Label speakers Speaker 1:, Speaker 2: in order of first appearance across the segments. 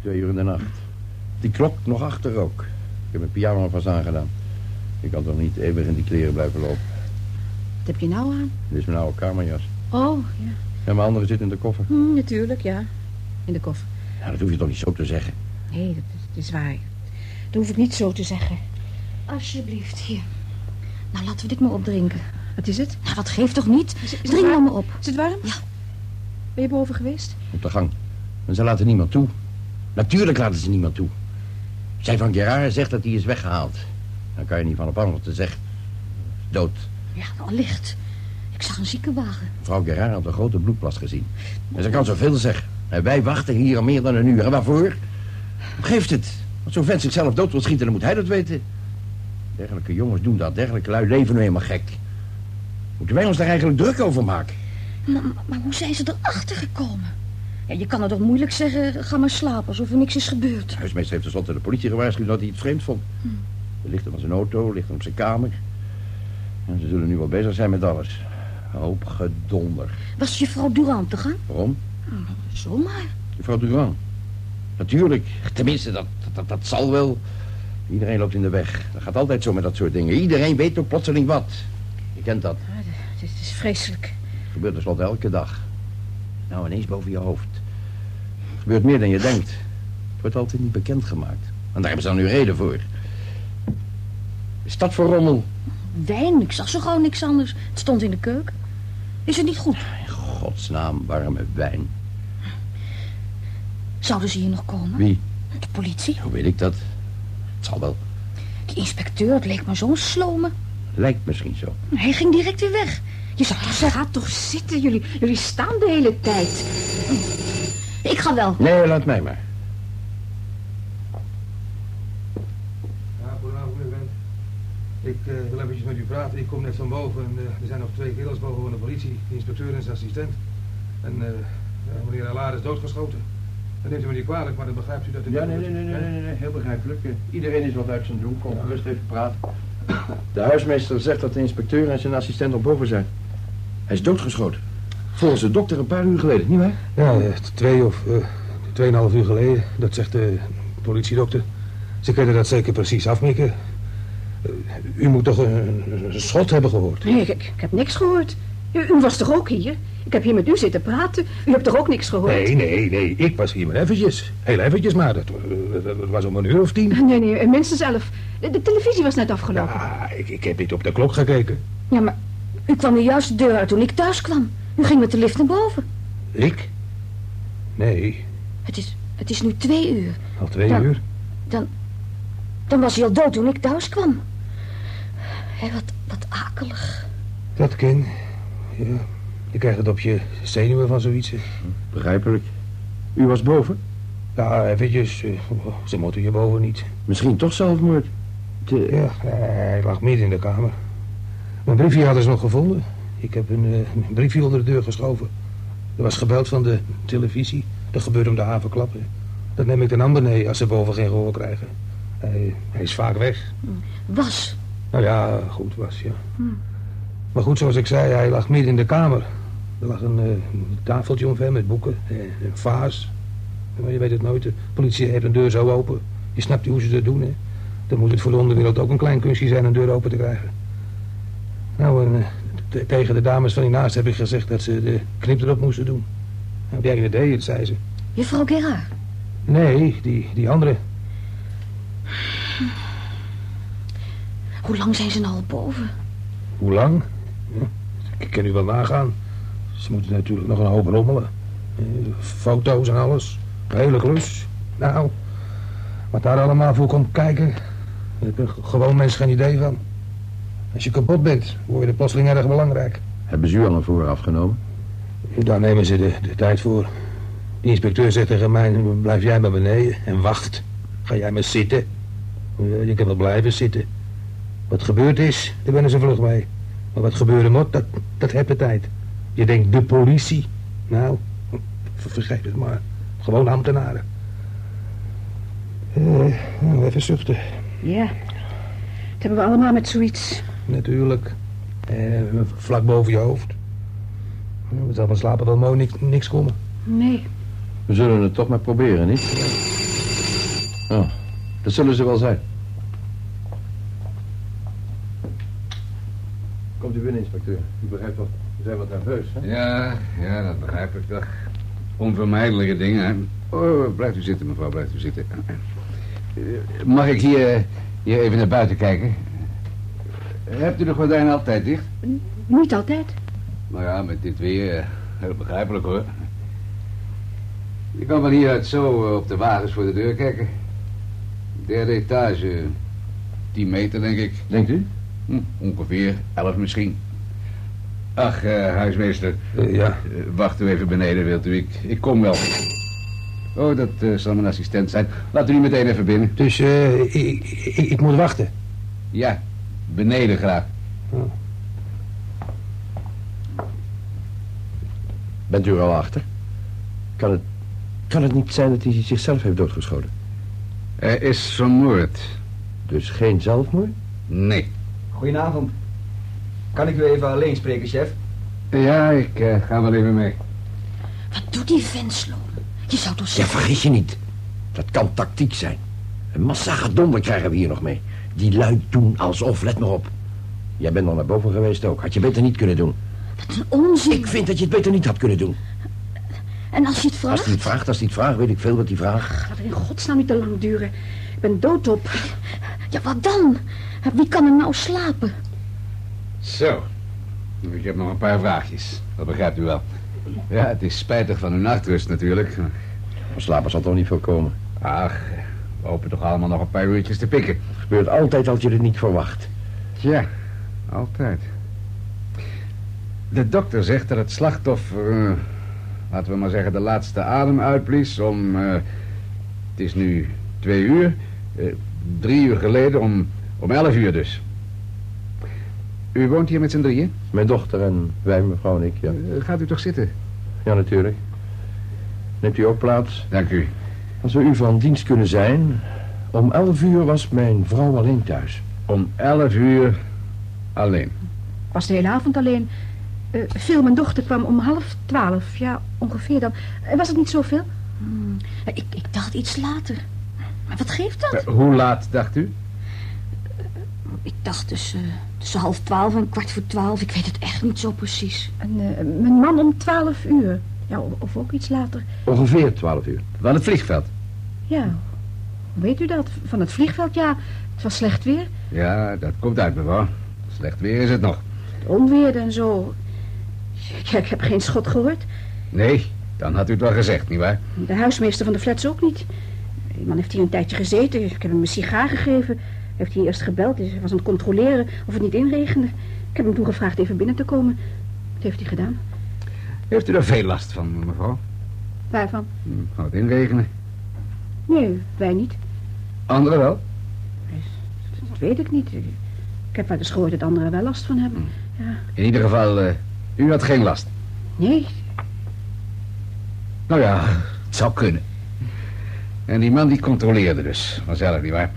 Speaker 1: Twee uur in de nacht. Die klok nog achter ook. Ik heb mijn pyjama vast aangedaan. Ik kan toch niet eeuwig in die kleren blijven lopen.
Speaker 2: Wat heb je nou aan?
Speaker 1: Dit is mijn oude kamerjas.
Speaker 2: Oh, ja.
Speaker 1: En mijn andere zit in de koffer.
Speaker 2: Hm, natuurlijk, ja. In de koffer.
Speaker 1: Nou, dat hoef je toch niet zo te zeggen.
Speaker 2: Nee, dat, dat is waar. Dat hoef ik niet zo te zeggen. Alsjeblieft, hier. Nou, laten we dit maar opdrinken.
Speaker 3: Wat is het?
Speaker 2: Nou, dat geeft toch niet?
Speaker 3: Is, is het
Speaker 2: Drink nou
Speaker 3: warm?
Speaker 2: maar op.
Speaker 3: Is het warm?
Speaker 2: Ja.
Speaker 3: Ben je boven geweest?
Speaker 1: Op de gang. En ze laten niemand toe. Natuurlijk laten ze niemand toe. Zij van Gerard zegt dat hij is weggehaald. Dan kan je niet van op aan wat ze zegt. Dood.
Speaker 2: Ja, allicht. Ik zag een ziekenwagen.
Speaker 1: Mevrouw Gerard had een grote bloedplas gezien. En ze kan zoveel zeggen. En wij wachten hier al meer dan een uur. En waarvoor? Wat geeft het? Als zo'n vent zichzelf dood wil schieten, dan moet hij dat weten. Dergelijke jongens doen dat. Dergelijke lui leven nu helemaal gek. Moeten wij ons daar eigenlijk druk over maken?
Speaker 2: Maar, maar- maar hoe zijn ze erachter gekomen? Ja, je kan het toch moeilijk zeggen, ga maar slapen, alsof er niks is gebeurd.
Speaker 1: De huismeester heeft tenslotte de politie gewaarschuwd dat hij iets vreemd vond. Er ligt hem op zijn auto, ligt hem op zijn kamer. En ze zullen nu wel bezig zijn met alles. Een hoop gedonder.
Speaker 2: Was juffrouw Durant te gaan?
Speaker 1: Waarom?
Speaker 2: Zomaar.
Speaker 1: Mevrouw Durand. Natuurlijk. Tenminste, dat, dat, dat zal wel. Iedereen loopt in de weg. Dat gaat altijd zo met dat soort dingen. Iedereen weet ook plotseling wat. Je kent dat.
Speaker 3: Ah, d- dit is vreselijk.
Speaker 1: Het gebeurt tenslotte elke dag. Nou, ineens boven je hoofd. Het gebeurt meer dan je denkt. Het wordt altijd niet bekendgemaakt. En daar hebben ze dan nu reden voor. Is dat voor rommel?
Speaker 2: Wijn, ik zag zo gewoon niks anders. Het stond in de keuken. Is het niet goed?
Speaker 1: In godsnaam, warme wijn.
Speaker 2: Zouden ze hier nog komen?
Speaker 1: Wie?
Speaker 2: De politie?
Speaker 1: Hoe weet ik dat? Het zal wel.
Speaker 2: Die inspecteur, het leek me zo'n slome.
Speaker 1: Lijkt misschien zo.
Speaker 2: Hij ging direct weer weg. Je zou toch zeggen,
Speaker 3: Ga toch zitten, jullie, jullie staan de hele tijd.
Speaker 2: ik ga wel.
Speaker 1: Nee, laat mij maar.
Speaker 4: Ja, goedenavond, meneer Wendt. Ik eh, wil eventjes met u praten. Ik kom net van boven en eh, er zijn nog twee kerels boven van de politie. De inspecteur en zijn assistent. En eh, ja, meneer Allard is doodgeschoten. Dat neemt u me niet kwalijk, maar dan begrijpt u dat u...
Speaker 1: Ja, nee, nee, nee, nee, nee, nee, nee, heel begrijpelijk. Eh, Iedereen is wat uit zijn doen. Kom, rust even praten. De huismeester zegt dat de inspecteur en zijn assistent op boven zijn. Hij is doodgeschoten. Volgens de dokter een paar uur geleden, nietwaar?
Speaker 4: Ja, eh, twee of eh, tweeënhalf uur geleden, dat zegt de politiedokter. Ze kunnen dat zeker precies afmikken. Eh, u moet toch een, een schot hebben gehoord?
Speaker 3: Nee, ik, ik heb niks gehoord. U, u was toch ook hier? Ik heb hier met u zitten praten. U hebt toch ook niks gehoord?
Speaker 4: Nee, nee, nee. Ik was hier maar eventjes. Heel eventjes maar. Dat, eh, dat was om een uur of tien.
Speaker 3: Nee, nee,
Speaker 2: eh,
Speaker 3: minstens elf. De, de televisie was net afgelopen. Ja.
Speaker 4: Ja, Ah, ik, ik heb niet op de klok gekeken.
Speaker 2: maar u kwam nu juist de deur uit toen ik thuis kwam. U ging met de lift naar boven.
Speaker 4: Ik? Nee,
Speaker 2: Het is, het is nu twee uur.
Speaker 4: al twee
Speaker 2: Ja.
Speaker 4: uur.
Speaker 2: Dan was hij al dood toen ik thuis kwam. Hé, wat, wat akelig.
Speaker 4: Dat ken. Ja. Je krijgt het op je zenuwen van zoiets. hè.
Speaker 1: Begrijpelijk. U was boven?
Speaker 4: Ja, eventjes. eh, Ze moeten je boven niet.
Speaker 1: Misschien toch zelfmoord. De...
Speaker 4: Ja, eh, hij lag midden in de kamer. Mijn briefje hadden ze nog gevonden. Ik heb een, eh, een briefje onder de deur geschoven. Er was gebeld van de televisie. Dat gebeurt om de havenklappen. Dat neem ik de ander mee als ze boven geen gehoor krijgen. Hij, hij is vaak weg.
Speaker 2: Was.
Speaker 4: Nou ja, goed was, ja. Maar goed, zoals ik zei, hij lag midden in de kamer. Er lag een, eh, een tafeltje omver met boeken, eh, een vaas. Maar je weet het nooit, de politie heeft een deur zo open. Je snapt niet hoe ze dat doen, hè. Dan moet het voor de onderwereld ook een klein kunstje zijn een deur open te krijgen. Nou, en, eh, te- tegen de dames van hiernaast heb ik gezegd dat ze de knip erop moesten doen. Nou, heb jij een idee, dat zei ze.
Speaker 2: Juffrouw Gerard.
Speaker 4: Nee, die, die andere.
Speaker 2: Hoe lang zijn ze nou al boven?
Speaker 4: Hoe lang? Ja, ik kan u wel nagaan. Ze moeten natuurlijk nog een hoop rommelen. Eh, Foto's en alles. Een hele klus. Nou, wat daar allemaal voor komt kijken... daar heb een gewoon mens geen idee van. Als je kapot bent, word je er plotseling erg belangrijk.
Speaker 1: Hebben ze u al een vooraf genomen?
Speaker 4: Daar nemen ze de, de tijd voor. De inspecteur zegt tegen mij, blijf jij maar beneden en wacht. Ga jij maar Eh, zitten. Ja, Je kan wel blijven zitten. Wat gebeurd is, daar ben ze vlug mee. Maar wat gebeuren moet, dat, dat heb het tijd. Je denkt de politie. Nou, ver- vergeet het maar. Gewoon ambtenaren. Eh, nou, even zuchten.
Speaker 2: Ja. Dat hebben we allemaal met zoiets.
Speaker 4: Natuurlijk. Eh, vlak boven je hoofd. Ja, Het zal van slapen wel mooi niks, niks komen.
Speaker 2: Nee.
Speaker 1: We zullen het toch maar proberen, niet? Oh, dat zullen ze wel zijn. Komt u binnen, inspecteur. U begrijpt wel, we zijn wat nerveus, hè?
Speaker 5: Ja, ja, dat begrijp ik toch. Onvermijdelijke dingen, hè. Oh, blijft u zitten, mevrouw, blijft u zitten. Eh, Mag ik hier, hier even naar buiten kijken? Hebt u de gordijnen altijd dicht?
Speaker 3: Niet altijd.
Speaker 5: Nou ja, met dit weer eh, heel begrijpelijk, hoor. Je kan van hieruit zo eh, op de wagens voor de deur kijken. Derde etage, 10 meter, denk ik.
Speaker 1: Denkt u?
Speaker 5: Hm, ongeveer, 11 misschien. Ach, eh, huismeester,
Speaker 4: Eh, ja,
Speaker 5: Eh, wacht u even beneden, wilt u? Ik, ik kom wel. Oh, dat eh, zal mijn assistent zijn. Laat u nu meteen even binnen.
Speaker 4: dus eh, ik, ik, ik moet wachten.
Speaker 5: Ja, beneden graag.
Speaker 1: Bent u er al achter? Kan het, kan het niet zijn dat hij zichzelf heeft doodgeschoten?
Speaker 5: Er is vermoord.
Speaker 1: Dus geen zelfmoord?
Speaker 5: Nee.
Speaker 6: Goedenavond. Kan ik u even alleen spreken, chef?
Speaker 5: Ja, ik eh, ga wel even mee.
Speaker 2: Wat doet die Vensloon? Je zou toch
Speaker 1: Ja, vergis je niet. Dat kan tactiek zijn. Een massa gedonder krijgen we hier nog mee. Die lui doen alsof, let maar op. Jij bent al naar boven geweest ook. Had je beter niet kunnen doen.
Speaker 2: Wat een onzin.
Speaker 1: Ik vind dat je het beter niet had kunnen doen.
Speaker 2: En als je het
Speaker 1: Als
Speaker 2: vraagt...
Speaker 1: hij het vraagt, als hij het vraagt, weet ik veel wat hij vraagt.
Speaker 3: Laat het in godsnaam niet te lang duren. Ik ben doodop.
Speaker 2: Ja, wat dan? Wie kan er nou slapen?
Speaker 5: Zo. Ik heb nog een paar vraagjes. Dat begrijpt u wel. Ja, het is spijtig van uw nachtrust natuurlijk.
Speaker 1: Van slapen zal toch niet veel komen.
Speaker 5: Ach, we hopen toch allemaal nog een paar uurtjes te pikken.
Speaker 1: Gebeurt altijd als je het niet verwacht.
Speaker 5: Ja, altijd. De dokter zegt dat het slachtoffer, eh, laten we maar zeggen, de laatste adem uitblies om, eh, het is nu twee uur, eh, drie uur geleden om, om elf uur dus. U woont hier met z'n drieën?
Speaker 1: Mijn dochter en wij, mevrouw en ik, ja.
Speaker 5: Eh, gaat u toch zitten?
Speaker 1: Ja, natuurlijk. Neemt u ook plaats?
Speaker 5: Dank u.
Speaker 1: Als we u van dienst kunnen zijn... Om elf uur was mijn vrouw alleen thuis.
Speaker 5: Om elf uur alleen.
Speaker 3: Ik was de hele avond alleen. Eh Phil, mijn dochter, kwam om half twaalf. Ja, ongeveer dan. Eh, Was het niet zoveel?
Speaker 2: Ik, ik dacht iets later. Maar wat geeft dat?
Speaker 5: Eh, hoe laat dacht u?
Speaker 2: Ik dacht tussen, tussen half twaalf en kwart voor twaalf. Ik weet het echt niet zo precies.
Speaker 3: En, eh, mijn man om twaalf uur. Ja, of, of ook iets later.
Speaker 1: Ongeveer twaalf uur.
Speaker 5: Van het vliegveld.
Speaker 3: Ja, hoe weet u dat? Van het vliegveld, ja. Het was slecht weer.
Speaker 5: Ja, dat komt uit, mevrouw. Slecht weer is het nog.
Speaker 3: Onweer en zo. Ja, ik heb geen schot gehoord.
Speaker 5: Nee, dan had u het wel gezegd, nietwaar?
Speaker 3: De huismeester van de flats ook niet. Die man heeft hier een tijdje gezeten. Ik heb hem een sigaar gegeven. Heeft hij eerst gebeld. Dus hij was aan het controleren of het niet inregende. Ik heb hem toen gevraagd even binnen te komen. Wat heeft hij gedaan?
Speaker 5: Heeft u daar veel last van, mevrouw?
Speaker 3: Waarvan?
Speaker 5: Gaat Hmm, het inregenen?
Speaker 3: Nee, wij niet.
Speaker 5: Anderen wel?
Speaker 3: Dat weet ik niet. Ik heb wel eens gehoord dat anderen wel last van hebben.
Speaker 5: In ieder geval, eh, u had geen last.
Speaker 3: Nee,
Speaker 5: Nou ja, het zou kunnen. En die man die controleerde dus, vanzelf, nietwaar?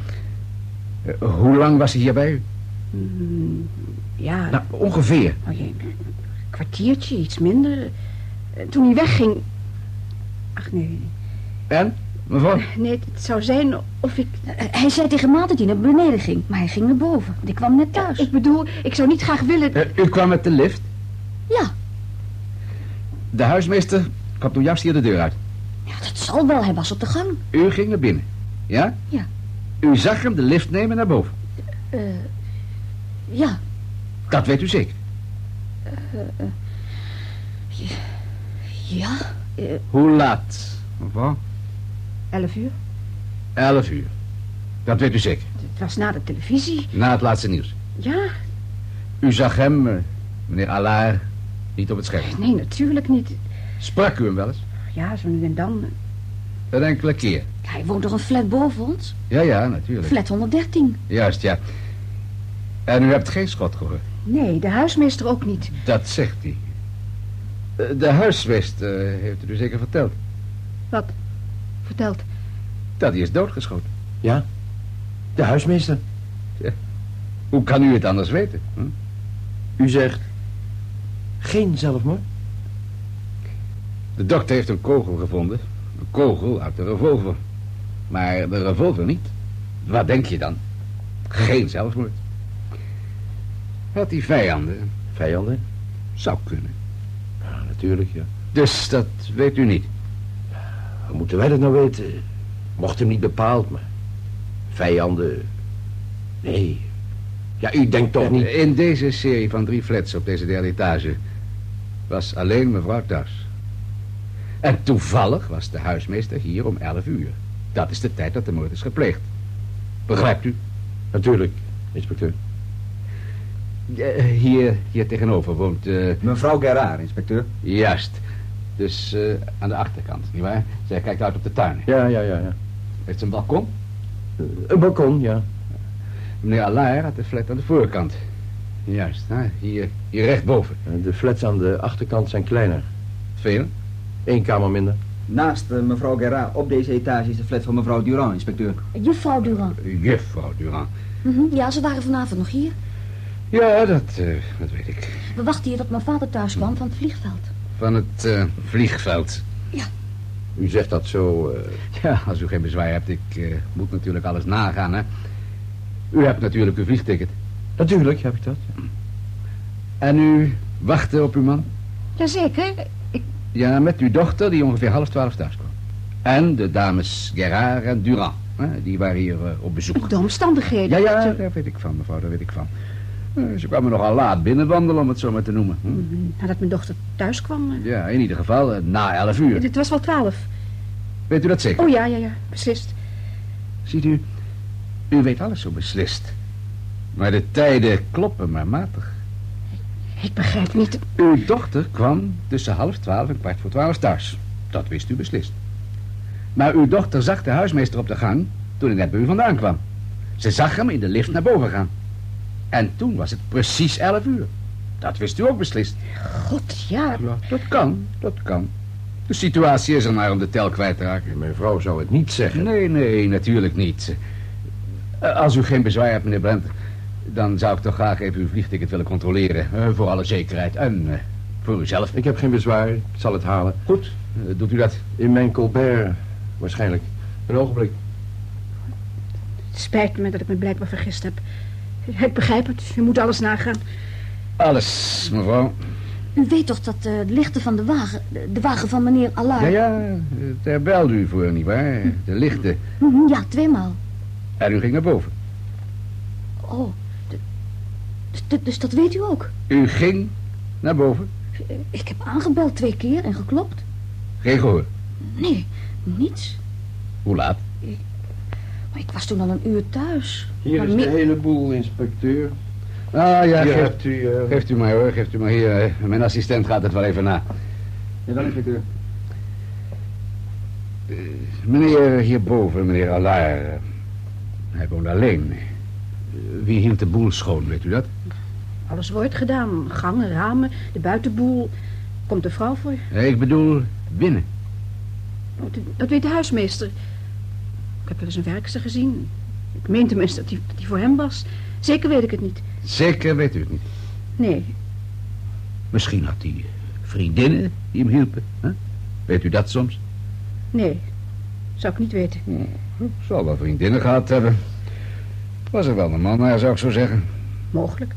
Speaker 5: Eh, hoe lang was hij hier bij u?
Speaker 3: ja,
Speaker 5: Nou, ongeveer.
Speaker 3: oh jee, een kwartiertje, iets minder. Eh, Toen hij wegging... Ach nee,
Speaker 5: En, mevrouw?
Speaker 3: nee, het zou zijn of ik...
Speaker 2: Eh, Hij zei tegen Maat dat hij naar beneden ging. Maar hij ging naar boven. Want ik kwam net thuis.
Speaker 3: Ik bedoel, ik zou niet graag willen...
Speaker 5: Eh, u kwam met de lift?
Speaker 2: Ja.
Speaker 5: De huismeester kwam toen juist hier de deur uit.
Speaker 2: Ja, dat zal wel. Hij was op de gang.
Speaker 5: U ging naar binnen, ja?
Speaker 2: Ja.
Speaker 5: U zag hem de lift nemen naar boven.
Speaker 2: Eh, ja.
Speaker 5: Dat weet u zeker.
Speaker 2: Ja.
Speaker 5: Hoe laat, mevrouw?
Speaker 3: Elf uur?
Speaker 5: Elf uur. Dat weet u zeker.
Speaker 3: Het was na de televisie.
Speaker 5: Na het laatste nieuws.
Speaker 3: Ja,
Speaker 5: U zag hem, eh, meneer Allard, niet op het scherm.
Speaker 3: nee, natuurlijk niet.
Speaker 5: Sprak u hem wel eens?
Speaker 3: Ja, zo nu en dan.
Speaker 5: Een enkele keer.
Speaker 2: Hij woont nog een flat boven ons.
Speaker 5: Ja, ja, natuurlijk.
Speaker 2: Flat 113.
Speaker 5: Juist, ja. En u hebt geen schot gehoord?
Speaker 3: Nee, de huismeester ook niet.
Speaker 5: Dat zegt hij. Eh, De huismeester eh, heeft het u zeker verteld.
Speaker 3: Verteld.
Speaker 5: Dat hij is doodgeschoten.
Speaker 1: De huismeester.
Speaker 5: Hoe kan u het anders weten? Hm?
Speaker 1: U zegt... Geen zelfmoord?
Speaker 5: De dokter heeft een kogel gevonden. Een kogel uit de revolver. Maar de revolver niet. Wat denk je dan? Geen zelfmoord. Had hij vijanden?
Speaker 1: Vijanden?
Speaker 5: Zou kunnen.
Speaker 1: Ja, natuurlijk, ja.
Speaker 5: Dus dat weet u niet.
Speaker 1: Hoe moeten wij dat nou weten? Mocht hem niet bepaald, maar... Vijanden... Nee. Ja, u denkt toch niet...
Speaker 5: Eh, In deze serie van drie flats op deze derde etage was alleen mevrouw thuis. En toevallig was de huismeester hier om 11 uur. Dat is de tijd dat de moord is gepleegd. Begrijpt u?
Speaker 1: Natuurlijk, inspecteur.
Speaker 5: Eh, Hier, hier tegenover woont eh,
Speaker 6: Mevrouw Gerard, inspecteur.
Speaker 5: Juist. Dus eh, aan de achterkant, nietwaar? Zij kijkt uit op de tuin.
Speaker 1: Ja, ja, ja, ja.
Speaker 5: Heeft ze een balkon?
Speaker 1: Een balkon, ja.
Speaker 5: Meneer Allaire had de flat aan de voorkant. Juist, hè? Hier, hier rechtboven.
Speaker 1: De flats aan de achterkant zijn kleiner.
Speaker 5: Veel?
Speaker 1: Eén kamer minder.
Speaker 6: Naast eh, mevrouw Gerard op deze etage is de flat van mevrouw Durand, inspecteur.
Speaker 7: Juffrouw Durand.
Speaker 5: Juffrouw Durand.
Speaker 7: Mhm, Ja, ze waren vanavond nog hier.
Speaker 5: Ja, dat, eh, dat weet ik.
Speaker 7: We wachten hier tot mijn vader thuis kwam van het vliegveld.
Speaker 5: Van het eh, vliegveld.
Speaker 1: U zegt dat zo... eh,
Speaker 5: Ja, als u geen bezwaar hebt, ik eh, moet natuurlijk alles nagaan, hè. U hebt natuurlijk uw vliegticket.
Speaker 1: Natuurlijk heb ik dat.
Speaker 5: En u wachtte op uw man?
Speaker 7: Jazeker.
Speaker 5: Ja, met uw dochter die ongeveer half twaalf thuis kwam. En de dames Gerard en Durand. Hè, die waren hier eh, op bezoek.
Speaker 3: De omstandigheden.
Speaker 5: Ja, ja, daar weet ik van, mevrouw, daar weet ik van. Eh, Ze kwamen nogal laat binnenwandelen, om het zo maar te noemen. Hm?
Speaker 3: Nadat mijn dochter thuis kwam. eh,
Speaker 5: Ja, in ieder geval eh, na elf uur.
Speaker 3: Het was wel twaalf.
Speaker 5: Weet u dat zeker?
Speaker 3: Oh ja, ja, ja. Beslist.
Speaker 5: Ziet u, u weet alles zo beslist. Maar de tijden kloppen maar matig.
Speaker 3: Ik begrijp niet.
Speaker 5: Uw dochter kwam tussen half twaalf en kwart voor twaalf thuis. Dat wist u beslist. Maar uw dochter zag de huismeester op de gang toen hij net bij u vandaan kwam. Ze zag hem in de lift naar boven gaan. En toen was het precies elf uur. Dat wist u ook beslist.
Speaker 3: God, ja.
Speaker 5: Ja, dat kan, dat kan. De situatie is er maar om de tel kwijt te raken.
Speaker 1: Mijn vrouw zou het niet zeggen.
Speaker 5: Nee, nee, natuurlijk niet. Eh, Als u geen bezwaar hebt, meneer Brent... dan zou ik toch graag even uw vliegticket willen controleren. eh, Voor alle zekerheid en eh, voor uzelf.
Speaker 1: Ik heb geen bezwaar.
Speaker 5: eh,
Speaker 1: Ik zal het halen.
Speaker 5: Goed, eh, doet u dat.
Speaker 1: In mijn Colbert, waarschijnlijk. Een ogenblik.
Speaker 3: Het spijt me dat ik me blijkbaar vergist heb. Ik begrijp het. Je moet alles nagaan.
Speaker 5: Alles, mevrouw.
Speaker 7: U weet toch dat eh, de lichten van de wagen, de, de wagen van meneer
Speaker 2: Ah.
Speaker 7: Allard...
Speaker 5: Ja, ja, eh, daar belde u voor, nietwaar? De lichten.
Speaker 7: Mhm, ja, tweemaal.
Speaker 5: En u ging naar boven.
Speaker 7: Oh, de- de- dus dat weet u ook.
Speaker 5: U ging naar boven?
Speaker 7: Eh, Ik heb aangebeld twee keer en geklopt.
Speaker 5: Geen gehoor.
Speaker 7: Nee, niets.
Speaker 5: Hoe laat?
Speaker 7: Maar ik was toen al een uur thuis.
Speaker 1: Hier
Speaker 7: Maar is de mi-
Speaker 1: hele boel, inspecteur.
Speaker 5: Ah, ja,
Speaker 1: Hier
Speaker 5: geeft,
Speaker 1: hebt u... eh,
Speaker 5: geeft u maar hoor, geeft u maar hier. eh, Mijn assistent gaat het wel even na.
Speaker 6: Ja, dan inspecteur.
Speaker 5: Meneer hierboven, meneer Allard. eh, Hij woont alleen. Eh, Wie hield de boel schoon, weet u dat?
Speaker 3: Alles wordt gedaan. Gangen, ramen, de buitenboel. Komt de vrouw voor?
Speaker 5: Eh, Ik bedoel, binnen.
Speaker 3: Oh, d- Dat weet de huismeester. Ik heb wel eens een werkster gezien. Ik meen tenminste dat die, dat die voor hem was. Zeker weet ik het niet.
Speaker 5: Zeker weet u het niet.
Speaker 3: Nee,
Speaker 5: Misschien had hij vriendinnen die hem hielpen. Hè? Weet u dat soms?
Speaker 3: nee. Zou ik niet weten.
Speaker 5: Zal wel vriendinnen gehad hebben. Was er wel een man naar, zou ik zo zeggen.
Speaker 3: Mogelijk.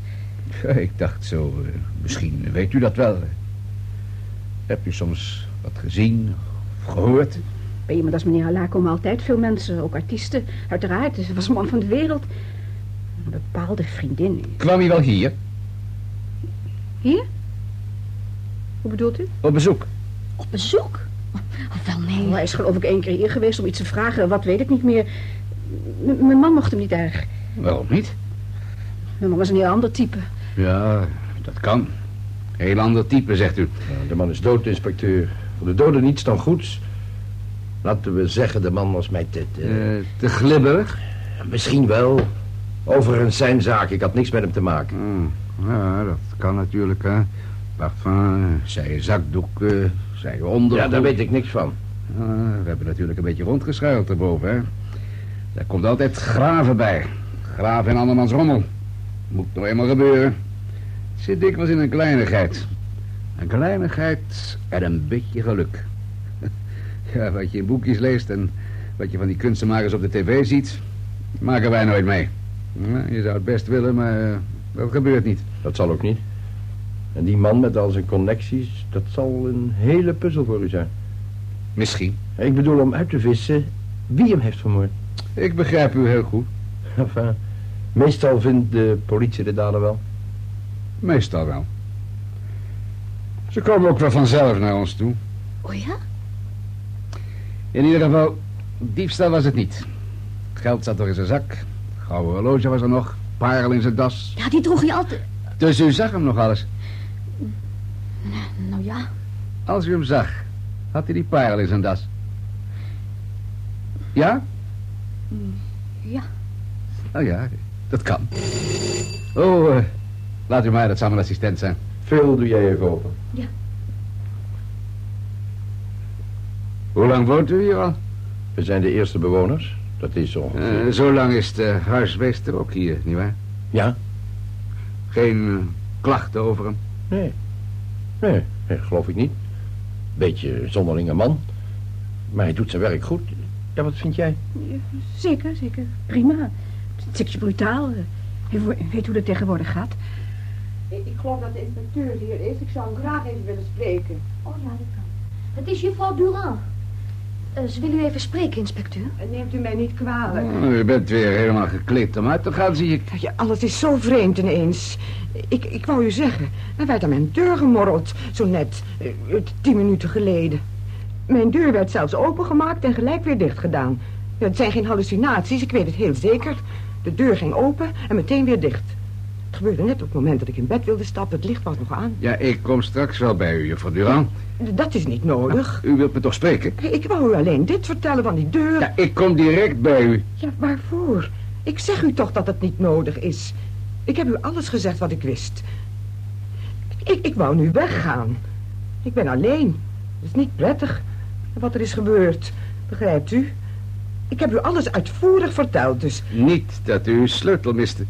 Speaker 5: Ja, Ik dacht zo, eh, misschien weet u dat wel. Heb u soms wat gezien of gehoord?
Speaker 3: Bij iemand als meneer Alla komen altijd veel mensen, ook artiesten. Uiteraard, hij was een man van de wereld. Een bepaalde vriendin.
Speaker 5: Kwam hij wel hier,
Speaker 3: Hoe bedoelt u?
Speaker 5: op bezoek?
Speaker 7: Op bezoek? Oh, wel nee.
Speaker 3: Oh, hij is geloof ik één keer hier geweest om iets te vragen. Wat weet ik niet meer. M- mijn man mocht hem niet erg.
Speaker 5: Waarom niet?
Speaker 3: Mijn man was een heel ander type.
Speaker 5: Ja, dat kan. Heel ander type, zegt u.
Speaker 1: nou, de man is dood, inspecteur. Voor de doden niets dan goeds. Laten we zeggen, de man was mij te... te-
Speaker 5: Eh, te glibberig?
Speaker 1: Misschien wel. Overigens zijn zaak. Ik had niks met hem te maken.
Speaker 5: Hmm. Ja, dat kan natuurlijk, hè. Parfum, zij zakdoek, eh, zij ondergoed.
Speaker 1: Ja, daar weet ik niks van.
Speaker 5: Ja, Ah, we hebben natuurlijk een beetje rondgeschuild erboven, hè. Daar komt altijd graven bij. Graven in andermans rommel. Moet nog eenmaal gebeuren. Het zit dikwijls in een kleinigheid. Een kleinigheid en een beetje geluk. Ja, wat je in boekjes leest en wat je van die kunstenmakers op de tv ziet... maken wij nooit mee. Ja, je zou het best willen, maar eh, dat gebeurt niet.
Speaker 1: Dat zal ook niet. En die man met al zijn connecties, dat zal een hele puzzel voor u zijn.
Speaker 5: Misschien.
Speaker 1: Ik bedoel om uit te vissen wie hem heeft vermoord.
Speaker 5: Ik begrijp u heel goed.
Speaker 1: Enfin, meestal vindt de politie de dader wel.
Speaker 5: Meestal wel. Ze komen ook wel vanzelf naar ons toe.
Speaker 7: Oh ja?
Speaker 5: In ieder geval, diefstal was het niet. Geld zat er in zijn zak. Gouden horloge was er nog. Parel in zijn das.
Speaker 7: Ja, die droeg hij altijd.
Speaker 5: Dus u zag hem nog alles.
Speaker 7: Nou ja,
Speaker 5: Als u hem zag, had hij die parel in zijn das. Ja?
Speaker 7: Mm, ja.
Speaker 5: Nou ja, dat kan. Oh, eh, laat u maar, dat zal mijn assistent zijn.
Speaker 1: Veel doe jij even open.
Speaker 5: Hoe lang woont u hier al?
Speaker 1: We zijn de eerste bewoners. Dat is ongeveer.
Speaker 5: Eh, zo lang is de huismeester ook hier, nietwaar?
Speaker 1: Ja?
Speaker 5: Geen eh, klachten over hem.
Speaker 1: Nee. Nee, nee, geloof ik niet. Beetje zonderlinge man. Maar hij doet zijn werk goed. Ja, wat vind jij?
Speaker 3: Zeker, zeker. Prima. Het is Stukje brutaal. eh. Hij wo- weet hoe dat tegenwoordig gaat.
Speaker 8: Ik, ik geloof dat de inspecteur hier is. Ik zou hem graag even willen spreken.
Speaker 7: Oh ja, dat kan. Het is juffrouw Durand. Eh, ze wil u even spreken, inspecteur.
Speaker 8: En Neemt u mij niet kwalijk.
Speaker 5: Oh, u bent weer helemaal gekleed om uit te gaan, zie ik.
Speaker 8: Ja, alles is zo vreemd ineens. Ik, ik wou u zeggen, er werd aan mijn deur gemorreld, zo net, eh, eh, tien minuten geleden. Mijn deur werd zelfs opengemaakt en gelijk weer dichtgedaan. Ja, Het zijn geen hallucinaties, ik weet het heel zeker. De deur ging open en meteen weer dicht. Het gebeurde net op het moment dat ik in bed wilde stappen, het licht was nog aan.
Speaker 5: Ja, ik kom straks wel bij u, juffrouw Durand.
Speaker 8: Dat is niet nodig.
Speaker 5: U wilt me toch spreken?
Speaker 8: Ik wou u alleen dit vertellen van die deur.
Speaker 5: Ja, ik kom direct bij u.
Speaker 8: Ja, waarvoor? Ik zeg u toch dat het niet nodig is. Ik heb u alles gezegd wat ik wist. Ik, ik wou nu weggaan. Ik ben alleen. Het is niet prettig wat er is gebeurd. Begrijpt u? Ik heb u alles uitvoerig verteld, dus...
Speaker 5: Niet dat u uw sleutel miste.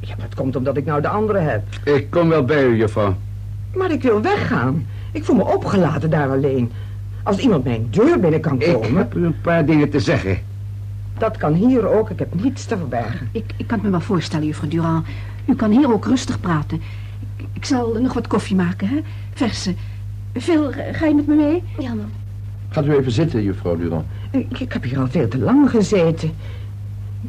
Speaker 8: Ja, maar het komt omdat ik nou de andere heb.
Speaker 5: Ik kom wel bij u, juffrouw.
Speaker 8: Maar ik wil weggaan. Ik voel me opgelaten daar alleen. Als iemand mijn deur binnen kan
Speaker 5: Ik
Speaker 8: komen...
Speaker 5: heb u een paar dingen te zeggen.
Speaker 8: Dat kan hier ook. Ik heb niets te verbergen.
Speaker 7: Ik, ik kan het me wel voorstellen, juffrouw Durand. U kan hier ook rustig praten.
Speaker 3: Ik, ik zal nog wat koffie maken, hè? Verse. Phil, eh, ga je met me mee?
Speaker 7: Ja, mam.
Speaker 1: Gaat u even zitten, juffrouw Durand.
Speaker 8: Ik, ik heb hier al veel te lang gezeten.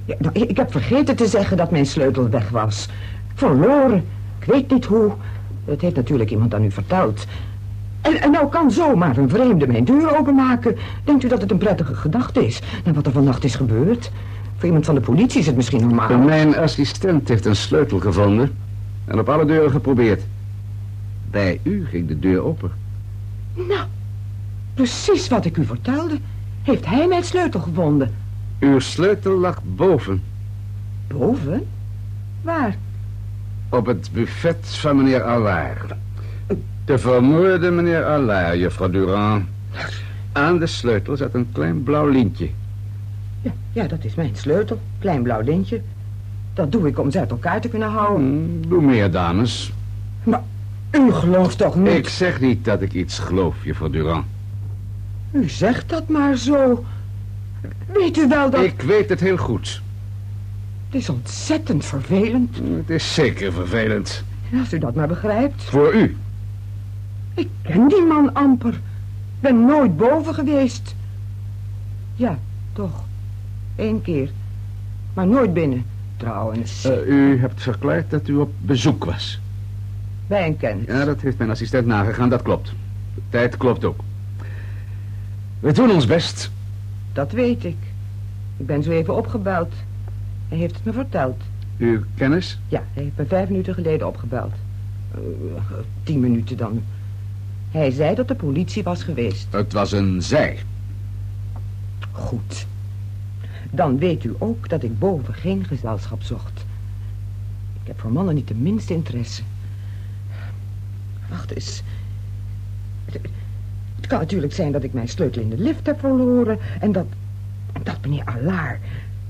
Speaker 8: Ja, nou, ik, ik heb vergeten te zeggen dat mijn sleutel weg was. Verloren. Ik weet niet hoe. Dat heeft natuurlijk iemand aan u verteld. En, en nou kan zomaar een vreemde mijn deur openmaken. Denkt u dat het een prettige gedachte is? Na wat er vannacht is gebeurd? Voor iemand van de politie is het misschien normaal.
Speaker 5: Mijn assistent heeft een sleutel gevonden en op alle deuren geprobeerd. Bij u ging de deur open.
Speaker 8: Nou, precies wat ik u vertelde. Heeft hij mijn sleutel gevonden?
Speaker 5: Uw sleutel lag boven
Speaker 8: Boven? Waar?
Speaker 5: op het buffet van meneer Allard. De vermoorde meneer Allard, juffrouw Durand. Aan de sleutel zat een klein blauw lintje.
Speaker 8: Ja, ja, dat is mijn sleutel. Klein blauw lintje. Dat doe ik om ze uit elkaar te kunnen houden.
Speaker 5: Hm, Doe meer, dames.
Speaker 8: U gelooft toch niet?
Speaker 5: Ik zeg niet dat ik iets geloof, juffrouw Durand.
Speaker 8: U zegt dat maar zo. Weet u wel dat...
Speaker 5: Ik weet het heel goed.
Speaker 8: Het is ontzettend vervelend.
Speaker 5: Het is zeker vervelend.
Speaker 8: Als u dat maar begrijpt.
Speaker 5: Voor u.
Speaker 8: Ik ken die man amper. Ben nooit boven geweest. Ja, toch. Eén keer. Maar nooit binnen, trouwens.
Speaker 5: Eh, u hebt verklaard dat u op bezoek was.
Speaker 8: Bij een kennis.
Speaker 5: Ja, dat heeft mijn assistent nagegaan, dat klopt. De tijd klopt ook. We doen ons best.
Speaker 8: Dat weet ik. Ik ben zo even opgebeld. Hij heeft het me verteld.
Speaker 5: Uw kennis?
Speaker 8: Ja, hij heeft me vijf minuten geleden opgebeld. Eh, tien minuten dan. Hij zei dat de politie was geweest.
Speaker 5: Het was een zij.
Speaker 8: Goed. Dan weet u ook dat ik boven geen gezelschap zocht. Ik heb voor mannen niet de minste interesse. Wacht eens. Het, het kan natuurlijk zijn dat ik mijn sleutel in de lift heb verloren... en dat, en dat meneer Allaar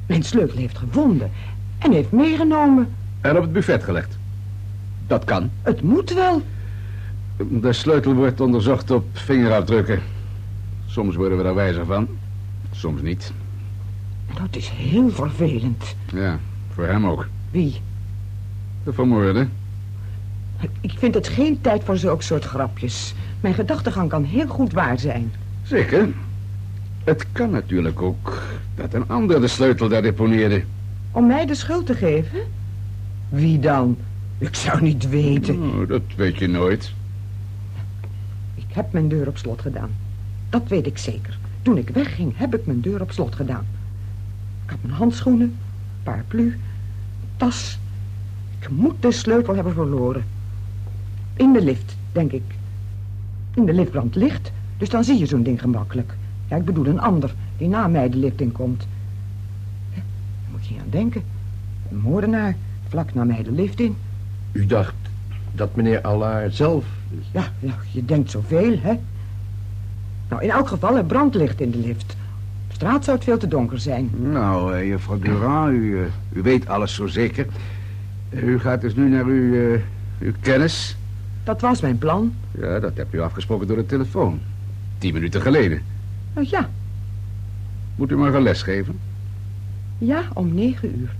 Speaker 8: mijn sleutel heeft gevonden... en heeft meegenomen.
Speaker 5: En op het buffet gelegd. Dat kan.
Speaker 8: Het moet wel.
Speaker 5: De sleutel wordt onderzocht op vingerafdrukken. Soms worden we daar wijzer van, soms niet.
Speaker 8: Dat is heel vervelend.
Speaker 5: Ja, voor hem ook.
Speaker 8: Wie?
Speaker 5: De vermoorde.
Speaker 8: Ik vind het geen tijd voor zulk soort grapjes. Mijn gedachtegang kan heel goed waar zijn.
Speaker 5: Zeker. Het kan natuurlijk ook dat een ander de sleutel daar deponeerde.
Speaker 8: Om mij de schuld te geven? Wie dan? Ik zou niet weten.
Speaker 5: Oh, dat weet je nooit.
Speaker 8: Ik heb mijn deur op slot gedaan. Dat weet ik zeker. Toen ik wegging, heb ik mijn deur op slot gedaan. Ik had mijn handschoenen, paraplu, tas. Ik moet de sleutel hebben verloren. In de lift, denk ik. In de lift brandt licht, dus dan zie je zo'n ding gemakkelijk. Ja, ik bedoel een ander die na mij de lift inkomt. Ja, Daar moet je niet aan denken. Een moordenaar, vlak na mij de lift in.
Speaker 1: U dacht dat meneer Allaar zelf...
Speaker 8: Ja, ja, je denkt zoveel, hè? Nou, in elk geval, er brandt licht in de lift. Op straat zou het veel te donker zijn.
Speaker 5: Nou, eh, juffrouw Durand, u, eh, u weet alles zo zeker. U gaat dus nu naar uw, eh, uw kennis.
Speaker 8: Dat was mijn plan.
Speaker 5: Ja, dat hebt u afgesproken door de telefoon. Tien minuten geleden.
Speaker 8: Nou ja,
Speaker 5: Moet u maar een les geven.
Speaker 8: ja, om negen uur.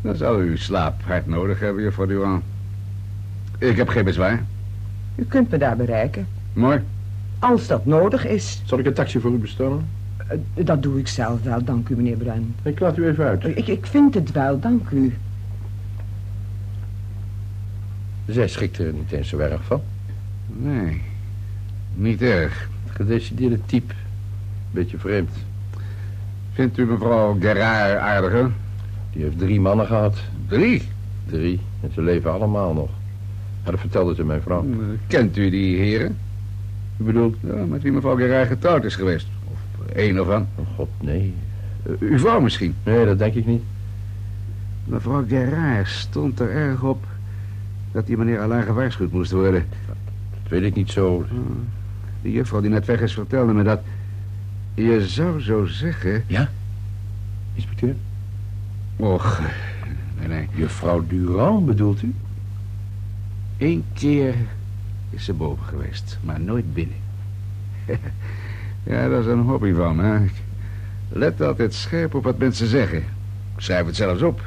Speaker 5: Dan zou u slaap hard nodig hebben, juffrouw Durand. Ik heb geen bezwaar.
Speaker 8: U kunt me daar bereiken.
Speaker 5: Mooi.
Speaker 8: Als dat nodig is,
Speaker 6: Zal ik een taxi voor u bestellen?
Speaker 8: Eh, dat doe ik zelf wel, dank u, meneer Bruin.
Speaker 6: Ik laat u even uit.
Speaker 8: Ik, ik vind het wel, dank u.
Speaker 1: Zij schikte er niet eens zo erg van.
Speaker 5: Nee, niet erg.
Speaker 1: Gedecideerde type. Beetje vreemd.
Speaker 5: Vindt u mevrouw Gerard aardiger?
Speaker 1: Die heeft drie mannen gehad.
Speaker 5: Drie.
Speaker 1: Drie. En ze leven allemaal nog. Maar dat vertelde ze mijn vrouw.
Speaker 5: eh, Kent u die heren?
Speaker 1: U bedoelt...
Speaker 5: Ja, met wie mevrouw Gerard getrouwd is geweest. Of één of een. Eh,
Speaker 1: Oh god, nee.
Speaker 5: Uw vrouw misschien.
Speaker 1: Nee, dat denk ik niet.
Speaker 5: Mevrouw Gerard stond er erg op dat die meneer Alain gewaarschuwd moest worden.
Speaker 1: Dat weet ik niet zo.
Speaker 5: De juffrouw die net weg is vertelde me dat. Je zou zo zeggen.
Speaker 1: Inspecteur?
Speaker 5: Och, nee, nee.
Speaker 1: Juffrouw Durand bedoelt u?
Speaker 5: Eén keer is ze boven geweest, maar nooit binnen. ja, dat is een hobby van me. hè. Ik let altijd scherp op wat mensen zeggen. Ik schrijf het zelfs op.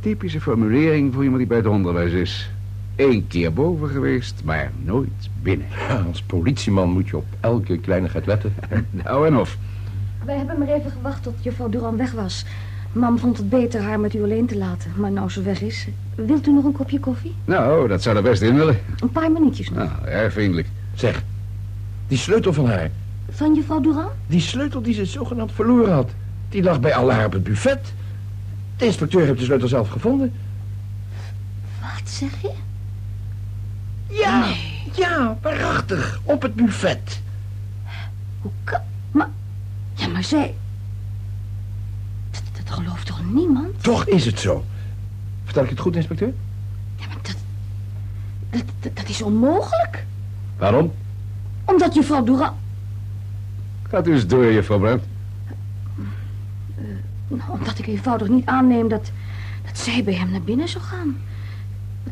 Speaker 5: Typische formulering voor iemand die bij het onderwijs is. Eén keer boven geweest, maar nooit binnen.
Speaker 1: Ja, als politieman moet je op elke kleinigheid letten.
Speaker 5: Nou en of.
Speaker 7: Wij hebben maar even gewacht tot juffrouw Duran weg was. Mam vond het beter haar met u alleen te laten. Maar nou ze weg is, wilt u nog een kopje koffie?
Speaker 5: Nou, dat zou er best in willen.
Speaker 7: Een paar minuutjes nog.
Speaker 5: Nou, erg vriendelijk.
Speaker 1: Zeg, die sleutel van haar.
Speaker 7: Van juffrouw Duran?
Speaker 1: Die sleutel die ze zogenaamd verloren had. Die lag bij Allaar op het buffet. De inspecteur heeft de sleutel zelf gevonden.
Speaker 7: Wat zeg je?
Speaker 1: Ja, ja, waarachtig. Op het buffet.
Speaker 7: Hoe kan... Maar... Ja, maar zij... Dat, dat gelooft toch niemand?
Speaker 1: Toch is het zo. Vertel ik het goed, inspecteur?
Speaker 7: Ja, maar dat... Dat, dat, dat is onmogelijk.
Speaker 1: Waarom?
Speaker 7: Omdat juffrouw Duran...
Speaker 5: Gaat u eens door, juffrouw Brandt.
Speaker 7: Nou, omdat ik eenvoudig niet aanneem dat... dat zij bij hem naar binnen zou gaan.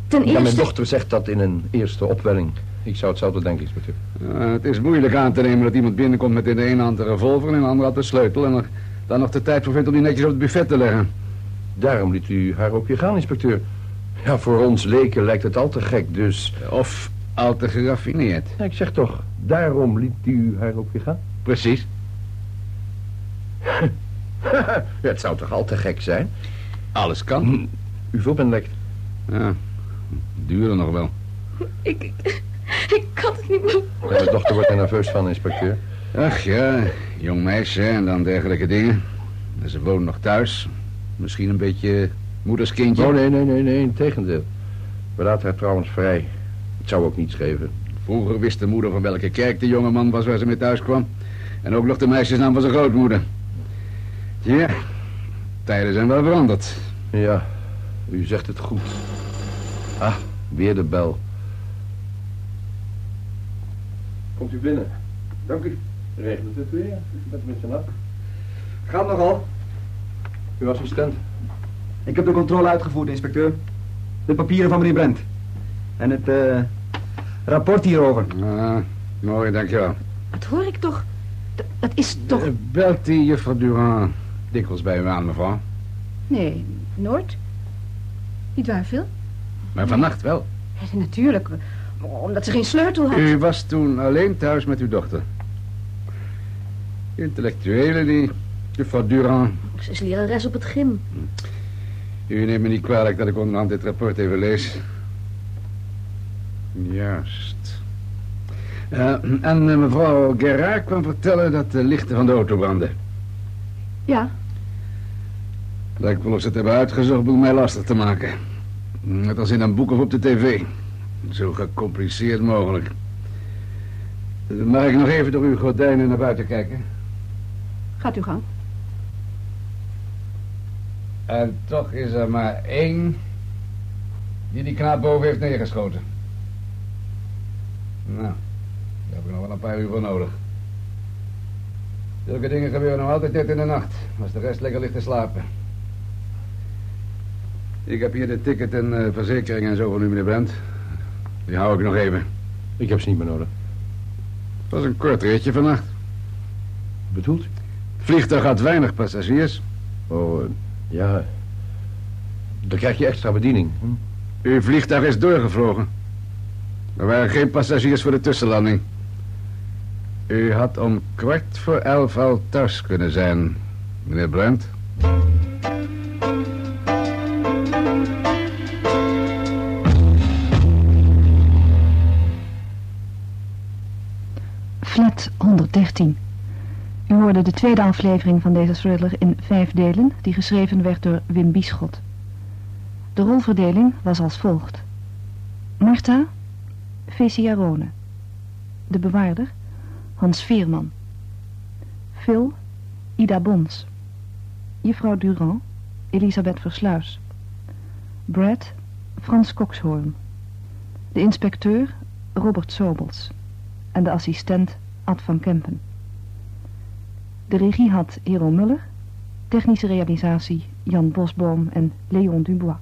Speaker 7: Ten
Speaker 1: Ja,
Speaker 7: eerste...
Speaker 1: mijn dochter zegt dat in een eerste opwelling. Ik zou hetzelfde denken, inspecteur.
Speaker 5: Eh, het is moeilijk aan te nemen dat iemand binnenkomt met in de ene hand de revolver... en in de andere hand de sleutel... en er dan nog de tijd voor vindt om die netjes op het buffet te leggen.
Speaker 1: Daarom liet u haar ook hier gaan, inspecteur. Ja, voor ons leken lijkt het al te gek, dus...
Speaker 5: Of al te geraffineerd.
Speaker 1: Ja, ik zeg toch, daarom liet u haar ook weer gaan?
Speaker 5: Precies.
Speaker 1: ja, het zou toch al te gek zijn? Hm,
Speaker 5: Alles kan.
Speaker 1: U voor bent lekt.
Speaker 5: Ja, duurde nog wel.
Speaker 7: Ik, ik, ik kan het niet meer...
Speaker 1: Ja, mijn dochter wordt er nerveus van, inspecteur.
Speaker 5: Ach ja, jong meisje en dan dergelijke dingen. En Ze woont nog thuis. Misschien een beetje moederskindje.
Speaker 1: Oh, nee, nee, nee, nee, integendeel. We laten haar trouwens vrij. Het zou ook niets geven.
Speaker 5: Vroeger wist de moeder van welke kerk de jonge man was waar ze mee thuis kwam. En ook nog de meisjesnaam van zijn grootmoeder. Ja, tijden zijn wel veranderd.
Speaker 1: Ja, U zegt het goed. Ah, weer de bel.
Speaker 9: Komt u binnen. Dank u. Regent het weer? Dat is met je nat. Gaat nogal.
Speaker 1: Uw assistent.
Speaker 9: Ik heb de controle uitgevoerd, inspecteur. De papieren van meneer Brent. En het eh, rapport hierover.
Speaker 5: Ah, mooi, dankjewel.
Speaker 10: Dat hoor ik toch. Dat, dat is toch...
Speaker 5: Eh, belt die juffrouw Durand dikwijls bij u aan, mevrouw?
Speaker 2: Nee, nooit. Niet waar, Phil?
Speaker 5: Maar vannacht wel.
Speaker 2: Ja, natuurlijk, omdat ze geen sleutel had.
Speaker 5: U was toen alleen thuis met uw dochter. Intellectuele, die juffrouw Durand.
Speaker 11: Ze is lerares op het gym.
Speaker 5: U neemt me niet kwalijk dat ik onderhand dit rapport even lees. Juist. Eh, en eh, mevrouw Gerard kwam vertellen dat de lichten eh, van de auto brandden.
Speaker 2: Ja.
Speaker 5: Lijkt wel of ze het hebben uitgezocht om mij lastig te maken. Net als in een boek of op de tv. Zo gecompliceerd mogelijk. Eh, Mag ik nog even door uw gordijnen naar buiten kijken?
Speaker 2: Gaat uw gang.
Speaker 5: En toch is er maar één die die knaap boven heeft neergeschoten. Nou, daar heb ik nog wel een paar uur voor nodig. Zulke dingen gebeuren nog altijd net in de nacht, als de rest lekker ligt te slapen. Ik heb hier de ticket en eh, verzekering en zo van u, meneer Brent. Die hou ik nog even.
Speaker 1: Ik heb ze niet meer nodig.
Speaker 5: Het was een kort ritje vannacht.
Speaker 1: Bedoelt u?
Speaker 5: Het vliegtuig had weinig passagiers.
Speaker 1: Oh, eh, ja. Dan krijg je extra bediening. Hm?
Speaker 5: Uw vliegtuig is doorgevlogen. Er waren geen passagiers voor de tussenlanding. U had om kwart voor elf al thuis kunnen zijn, meneer Brandt.
Speaker 3: Flat 113. U hoorde de tweede aflevering van deze thriller in vijf delen, die geschreven werd door Wim Bieschot. De rolverdeling was als volgt. Marta, Feciarone. De bewaarder, Hans Veerman. Phil, Ida Bons. Juffrouw Durand, Elisabeth Versluis. Brad, Frans Kokshoorn. De inspecteur, Robert Sobels en de assistent Ad van Kempen. De regie had Hero Muller, technische realisatie Jan Bosboom en Leon Dubois.